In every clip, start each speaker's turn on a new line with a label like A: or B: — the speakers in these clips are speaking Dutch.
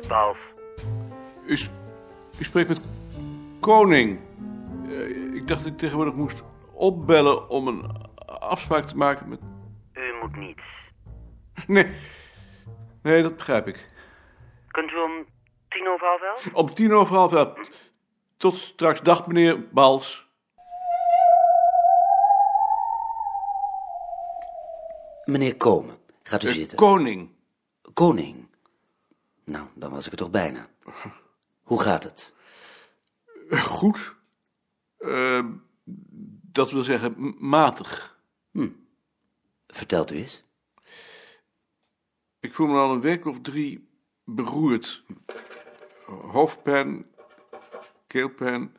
A: twaalf.
B: U, s- u spreekt met Koning. Eh, ik dacht dat ik tegenwoordig moest opbellen om een afspraak te maken met...
A: U moet niets.
B: Nee, nee dat begrijp ik.
A: Kunt u om tien over half elf?
B: Om tien over half elf. Tot straks. Dag, meneer Bals.
C: Meneer Komen, gaat u
B: Eh,
C: zitten.
B: Koning.
C: Koning. Nou, dan was ik er toch bijna. Hoe gaat het?
B: Goed. Eh, dat wil zeggen m- matig.
C: Vertelt u eens.
B: Ik voel me al een week of drie beroerd. Hoofdpijn, keelpijn,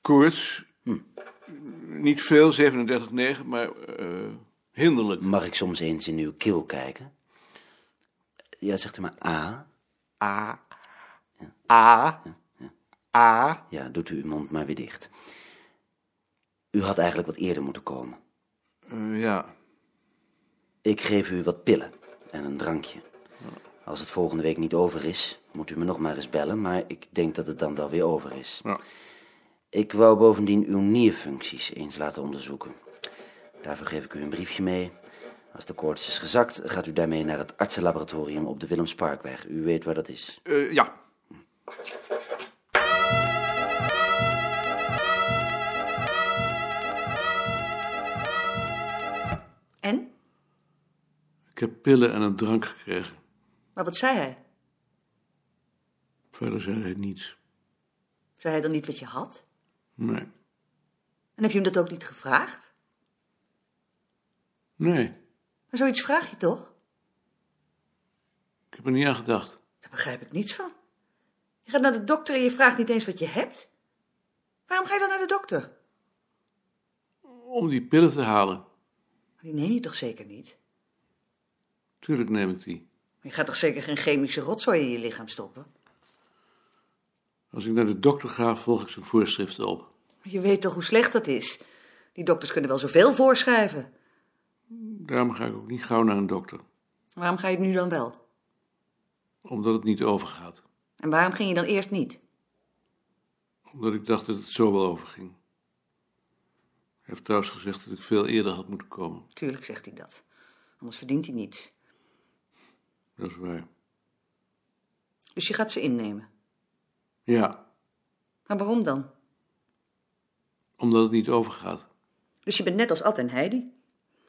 B: koorts. Niet veel, 37,9, maar eh, hinderlijk.
C: Mag ik soms eens in uw keel kijken? Ja, zegt u maar A.
B: A. A.
C: Ja, doet u uw mond maar weer dicht. U had eigenlijk wat eerder moeten komen.
B: Eh, ja.
C: Ik geef u wat pillen en een drankje. Als het volgende week niet over is, moet u me nog maar eens bellen, maar ik denk dat het dan wel weer over is.
B: Ja.
C: Ik wou bovendien uw nierfuncties eens laten onderzoeken. Daarvoor geef ik u een briefje mee. Als de koorts is gezakt, gaat u daarmee naar het artsenlaboratorium op de Willemsparkweg. U weet waar dat is.
B: Eh, ja.
D: En?
B: Ik heb pillen en een drank gekregen.
D: Maar wat zei hij?
B: Verder zei hij niets.
D: Zei hij dan niet wat je had?
B: Nee.
D: En heb je hem dat ook niet gevraagd?
B: Nee.
D: Maar zoiets vraag je toch?
B: Ik heb er niet aan gedacht.
D: Daar begrijp ik niets van. Je gaat naar de dokter en je vraagt niet eens wat je hebt. Waarom ga je dan naar de dokter?
B: Om die pillen te halen.
D: Die neem je toch zeker niet?
B: Tuurlijk neem ik die.
D: Je gaat toch zeker geen chemische rotzooi in je lichaam stoppen?
B: Als ik naar de dokter ga, volg ik zijn voorschriften op.
D: Je weet toch hoe slecht dat is? Die dokters kunnen wel zoveel voorschrijven.
B: Daarom ga ik ook niet gauw naar een dokter.
D: Waarom ga je het nu dan wel?
B: Omdat het niet overgaat.
D: En waarom ging je dan eerst niet?
B: Omdat ik dacht dat het zo wel overging. Hij heeft trouwens gezegd dat ik veel eerder had moeten komen.
D: Tuurlijk zegt hij dat. Anders verdient hij niets.
B: Dat is waar.
D: Dus je gaat ze innemen.
B: Ja,
D: Maar waarom dan?
B: omdat het niet overgaat.
D: Dus je bent net als Ad en Heidi.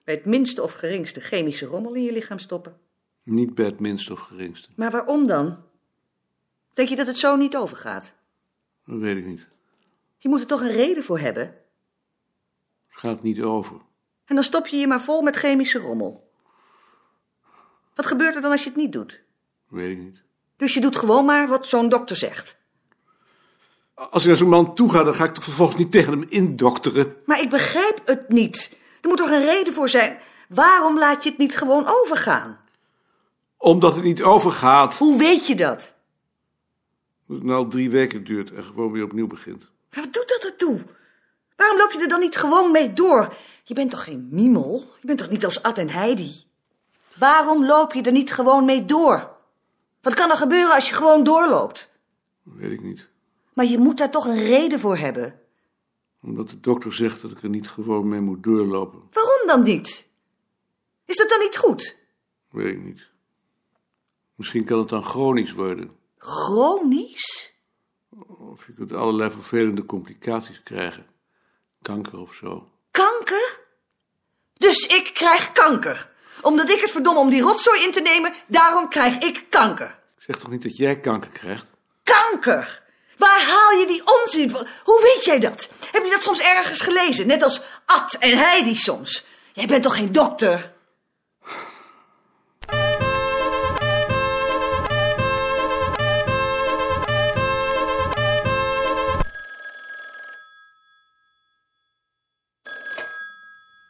D: Bij het minste of geringste chemische rommel in je lichaam stoppen.
B: Niet bij het minste of geringste.
D: Maar waarom dan? Denk je dat het zo niet overgaat?
B: Dat weet ik niet.
D: Je moet er toch een reden voor hebben?
B: Het gaat niet over.
D: En dan stop je je maar vol met chemische rommel. Wat gebeurt er dan als je het niet doet?
B: Dat weet ik niet.
D: Dus je doet gewoon maar wat zo'n dokter zegt.
B: Als ik naar zo'n man toe ga, dan ga ik toch vervolgens niet tegen hem indokteren.
D: Maar ik begrijp het niet. Er moet toch een reden voor zijn? Waarom laat je het niet gewoon overgaan?
B: Omdat het niet overgaat.
D: Hoe weet je dat?
B: Dat het nou al drie weken duurt en gewoon weer opnieuw begint.
D: Maar wat doet dat ertoe? Waarom loop je er dan niet gewoon mee door? Je bent toch geen mimel? Je bent toch niet als Ad en Heidi? Waarom loop je er niet gewoon mee door? Wat kan er gebeuren als je gewoon doorloopt?
B: Dat weet ik niet.
D: Maar je moet daar toch een reden voor hebben.
B: Omdat de dokter zegt dat ik er niet gewoon mee moet doorlopen.
D: Waarom dan niet? Is dat dan niet goed?
B: Dat weet ik niet. Misschien kan het dan chronisch worden.
D: Chronisch?
B: Of je kunt allerlei vervelende complicaties krijgen. Kanker of zo.
D: Kanker? Dus ik krijg kanker. Omdat ik het verdomme om die rotzooi in te nemen, daarom krijg ik kanker.
B: Ik zeg toch niet dat jij kanker krijgt?
D: kanker. Waar haal je die onzin van? Hoe weet jij dat? Heb je dat soms ergens gelezen? Net als Ad en Heidi soms. Jij bent toch geen dokter?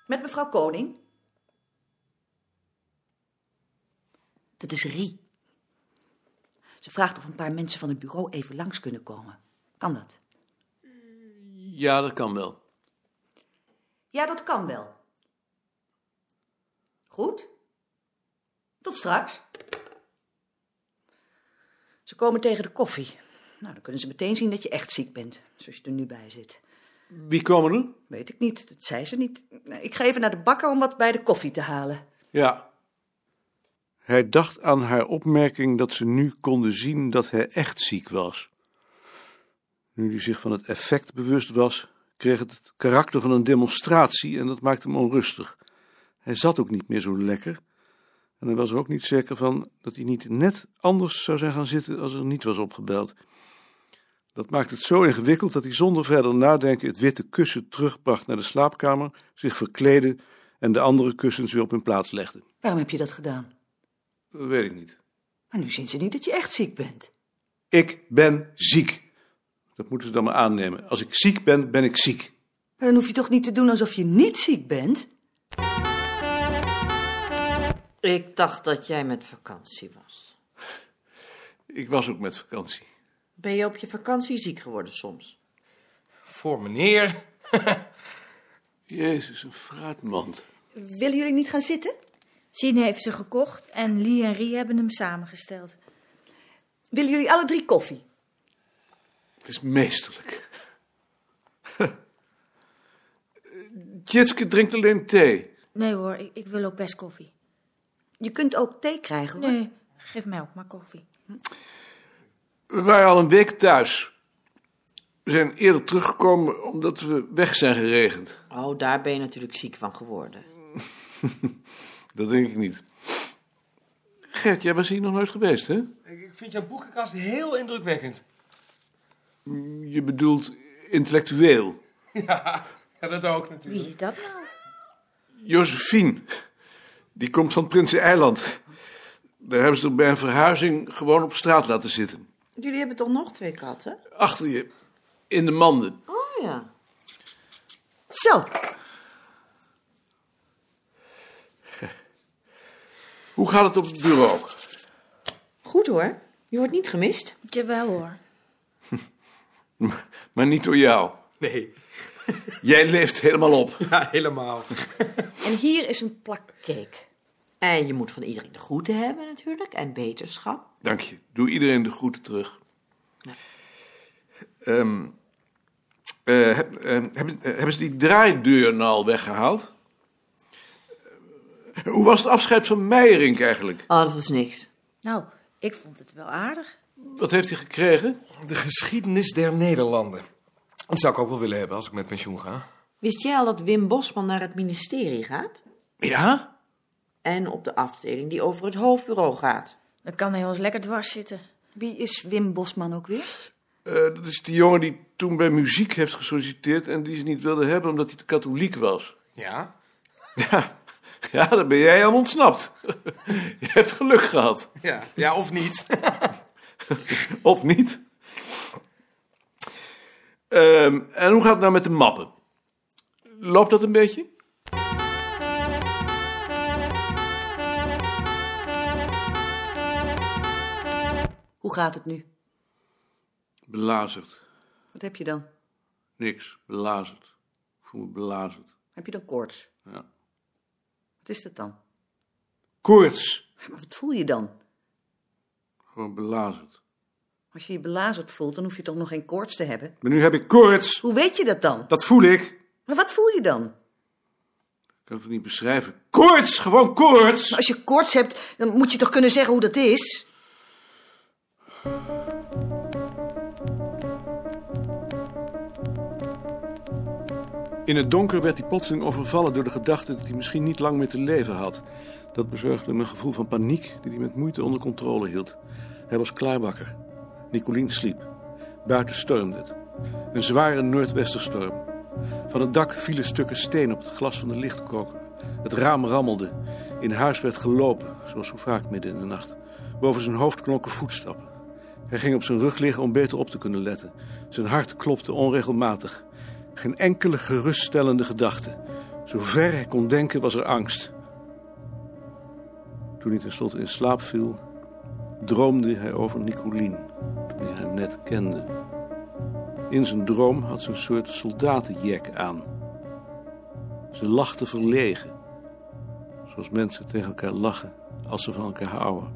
D: Met mevrouw Koning? Dat is Rie. Ze vraagt of een paar mensen van het bureau even langs kunnen komen. Kan dat?
B: Ja, dat kan wel.
D: Ja, dat kan wel. Goed. Tot straks. Ze komen tegen de koffie. Nou, dan kunnen ze meteen zien dat je echt ziek bent, zoals je er nu bij zit.
B: Wie komen er?
D: Weet ik niet, dat zei ze niet. Nou, Ik ga even naar de bakker om wat bij de koffie te halen.
B: Ja. Hij dacht aan haar opmerking dat ze nu konden zien dat hij echt ziek was. Nu hij zich van het effect bewust was, kreeg het het karakter van een demonstratie en dat maakte hem onrustig. Hij zat ook niet meer zo lekker en hij was er ook niet zeker van dat hij niet net anders zou zijn gaan zitten als er niet was opgebeld. Dat maakte het zo ingewikkeld dat hij zonder verder nadenken het witte kussen terugbracht naar de slaapkamer, zich verkleedde en de andere kussens weer op hun plaats legde.
D: Waarom heb je dat gedaan?
B: Dat weet ik niet.
D: Maar nu zien ze niet dat je echt ziek bent.
B: Ik ben ziek. Dat moeten ze dan maar aannemen. Als ik ziek ben, ben ik ziek.
D: Maar Dan hoef je toch niet te doen alsof je niet ziek bent?
E: Ik dacht dat jij met vakantie was.
B: Ik was ook met vakantie.
E: Ben je op je vakantie ziek geworden soms?
F: Voor meneer.
B: Jezus, een fruitmand.
D: Willen jullie niet gaan zitten?
G: Sine heeft ze gekocht en Lee en Rie hebben hem samengesteld.
D: Willen jullie alle drie koffie?
B: Het is meesterlijk. Jitske drinkt alleen thee.
G: Nee hoor, ik, ik wil ook best koffie.
D: Je kunt ook thee krijgen, hoor.
G: Nee, geef mij ook maar koffie.
B: We waren al een week thuis. We zijn eerder teruggekomen omdat we weg zijn geregend.
E: Oh, daar ben je natuurlijk ziek van geworden.
B: Dat denk ik niet. Gert, jij was hier nog nooit geweest, hè?
F: Ik vind jouw boekenkast heel indrukwekkend.
B: Je bedoelt intellectueel.
F: Ja, dat ook natuurlijk.
G: Wie is dat nou?
B: Josephine. Die komt van Prinseneiland. Daar hebben ze er bij een verhuizing gewoon op straat laten zitten.
E: Jullie hebben toch nog twee katten?
B: Achter je. In de manden.
E: Oh ja.
D: Zo,
B: Hoe gaat het op het bureau?
E: Goed hoor. Je wordt niet gemist.
G: Jawel hoor.
B: Maar niet door jou.
F: Nee,
B: Jij leeft helemaal op.
F: ja, helemaal.
D: en hier is een plak cake.
E: En je moet van iedereen de groeten hebben natuurlijk. En beterschap.
B: Dank je. Doe iedereen de groeten terug. Ehm, eh, heb- ehm, hebben, eh, hebben ze die draaideur nou al weggehaald? Eh, Hoe was het afscheid van Meijerink eigenlijk?
E: Oh, dat was niks.
G: Nou, ik vond het wel aardig.
B: Wat heeft hij gekregen?
F: De geschiedenis der Nederlanden. Dat zou ik ook wel willen hebben als ik met pensioen ga.
E: Wist jij al dat Wim Bosman naar het ministerie gaat?
B: Ja?
E: En op de afdeling die over het hoofdbureau gaat.
G: Dan kan hij ons lekker dwars zitten.
D: Wie is Wim Bosman ook weer?
B: Eh, dat is die jongen die toen bij muziek heeft gesolliciteerd en die ze niet wilde hebben omdat hij te katholiek was.
F: Ja?
B: Ja, ja daar ben jij aan ontsnapt. Je hebt geluk gehad.
F: Ja, ja of niet.
B: Of niet? Ehm, en hoe gaat het nou met de mappen? Loopt dat een beetje?
D: Hoe gaat het nu?
B: Belazerd.
D: Wat heb je dan?
B: Niks. Belazerd. Ik voel me belazerd.
D: Heb je dan koorts?
B: Ja.
D: Wat is dat dan?
B: Koorts.
D: Maar wat voel je dan?
B: Gewoon belazerd.
D: Als je je belazerd voelt, dan hoef je toch nog geen koorts te hebben?
B: Maar nu heb ik koorts.
D: Hoe weet je dat dan?
B: Dat voel ik. Ik
D: Maar wat voel je dan?
B: kan het niet beschrijven. Koorts! Gewoon koorts!
D: Maar als je koorts hebt, dan moet je toch kunnen zeggen hoe dat is?
B: In het donker werd hij plotseling overvallen door de gedachte dat hij misschien niet lang meer te leven had. Dat bezorgde hem een gevoel van paniek die hij met moeite onder controle hield. Hij was klaarwakker. Nicolien sliep. Buiten stormde het. Een zware noordwesterstorm. Van het dak vielen stukken steen op het glas van de lichtkoker. Het raam rammelde. In huis werd gelopen, zoals zo vaak midden in de nacht. Boven zijn hoofd klonken voetstappen. Hij ging op zijn rug liggen om beter op te kunnen letten. Zijn hart klopte onregelmatig. Geen enkele geruststellende gedachte. Zover hij kon denken was er angst. Toen hij tenslotte in slaap viel, droomde hij over Nicolien, die hij net kende. In zijn droom had ze een soort soldatenjek aan. Ze lachte verlegen, zoals mensen tegen elkaar lachen als ze van elkaar houden.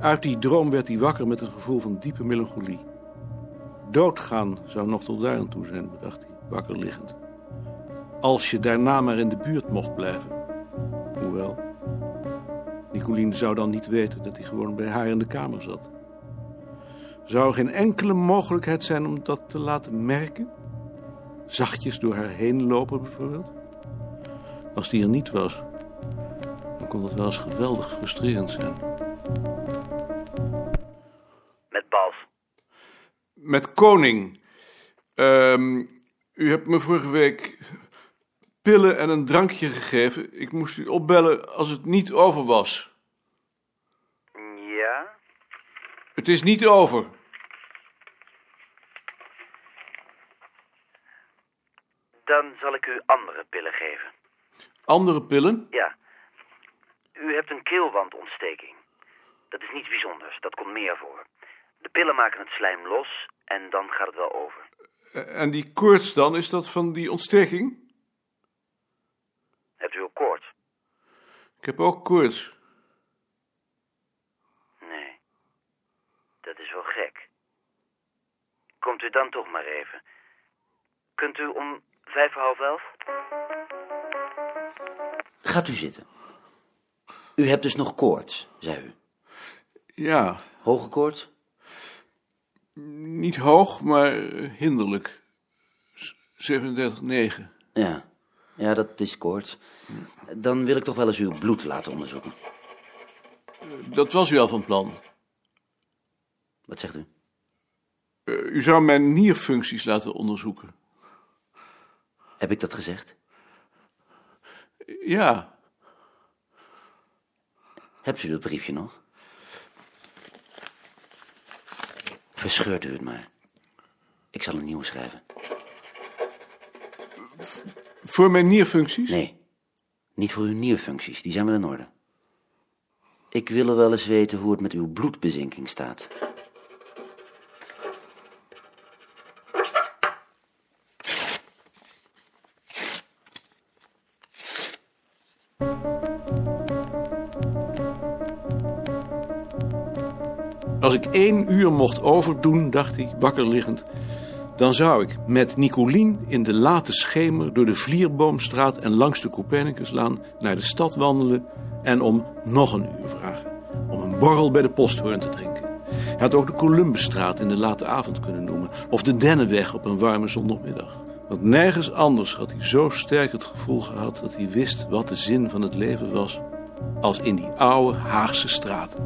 B: Uit die droom werd hij wakker met een gevoel van diepe melancholie. Doodgaan zou nog tot daar aan toe zijn, bedacht hij, wakker liggend. Als je daarna maar in de buurt mocht blijven. Hoewel, Nicoline zou dan niet weten dat hij gewoon bij haar in de kamer zat. Zou er geen enkele mogelijkheid zijn om dat te laten merken? Zachtjes door haar heen lopen bijvoorbeeld? Als die er niet was, dan kon dat wel eens geweldig frustrerend zijn.
A: Met Bas.
B: Met koning. Ehm, u hebt me vorige week pillen en een drankje gegeven. Ik moest u opbellen als het niet over was.
A: Ja?
B: Het is niet over.
A: Dan zal ik u andere pillen geven.
B: Andere pillen?
A: Ja. U hebt een keelwandontsteking. Dat is niets bijzonders, dat komt meer voor. De pillen maken het slijm los en dan gaat het wel over.
B: En die koorts dan, is dat van die ontsteking?
A: Hebt u ook koorts?
B: Ik heb ook koorts.
A: Nee. Dat is wel gek. Komt u dan toch maar even. Kunt u om vijf voor half elf?
C: Gaat u zitten. U hebt dus nog koorts, zei u.
B: Ja,
C: Hoge koorts?
B: niet hoog, maar eh, hinderlijk. Z- 37,9.
C: Ja. Ja, dat is koorts. Dan wil ik toch wel eens uw bloed laten onderzoeken.
B: Dat was u al van plan.
C: Wat zegt u?
B: Eh, u zou mijn nierfuncties laten onderzoeken.
C: Heb ik dat gezegd?
B: Ja,
C: Hebt u dat briefje nog? Verscheurt u het maar. Ik zal een nieuwe schrijven.
B: voor mijn nierfuncties?
C: Nee, niet voor uw nierfuncties, die zijn wel in orde. Ik wil er wel eens weten hoe het met uw bloedbezinking staat.
B: Als ik één uur mocht overdoen, dacht hij, wakker liggend... dan zou ik met Nicolien in de late schemer... door de Vlierboomstraat en langs de Copernicuslaan... naar de stad wandelen en om nog een uur vragen. Om een borrel bij de posthoorn te drinken. Hij had ook de Columbusstraat in de late avond kunnen noemen... of de Dennenweg op een warme zondagmiddag. Want nergens anders had hij zo sterk het gevoel gehad... dat hij wist wat de zin van het leven was... als in die oude Haagse straat.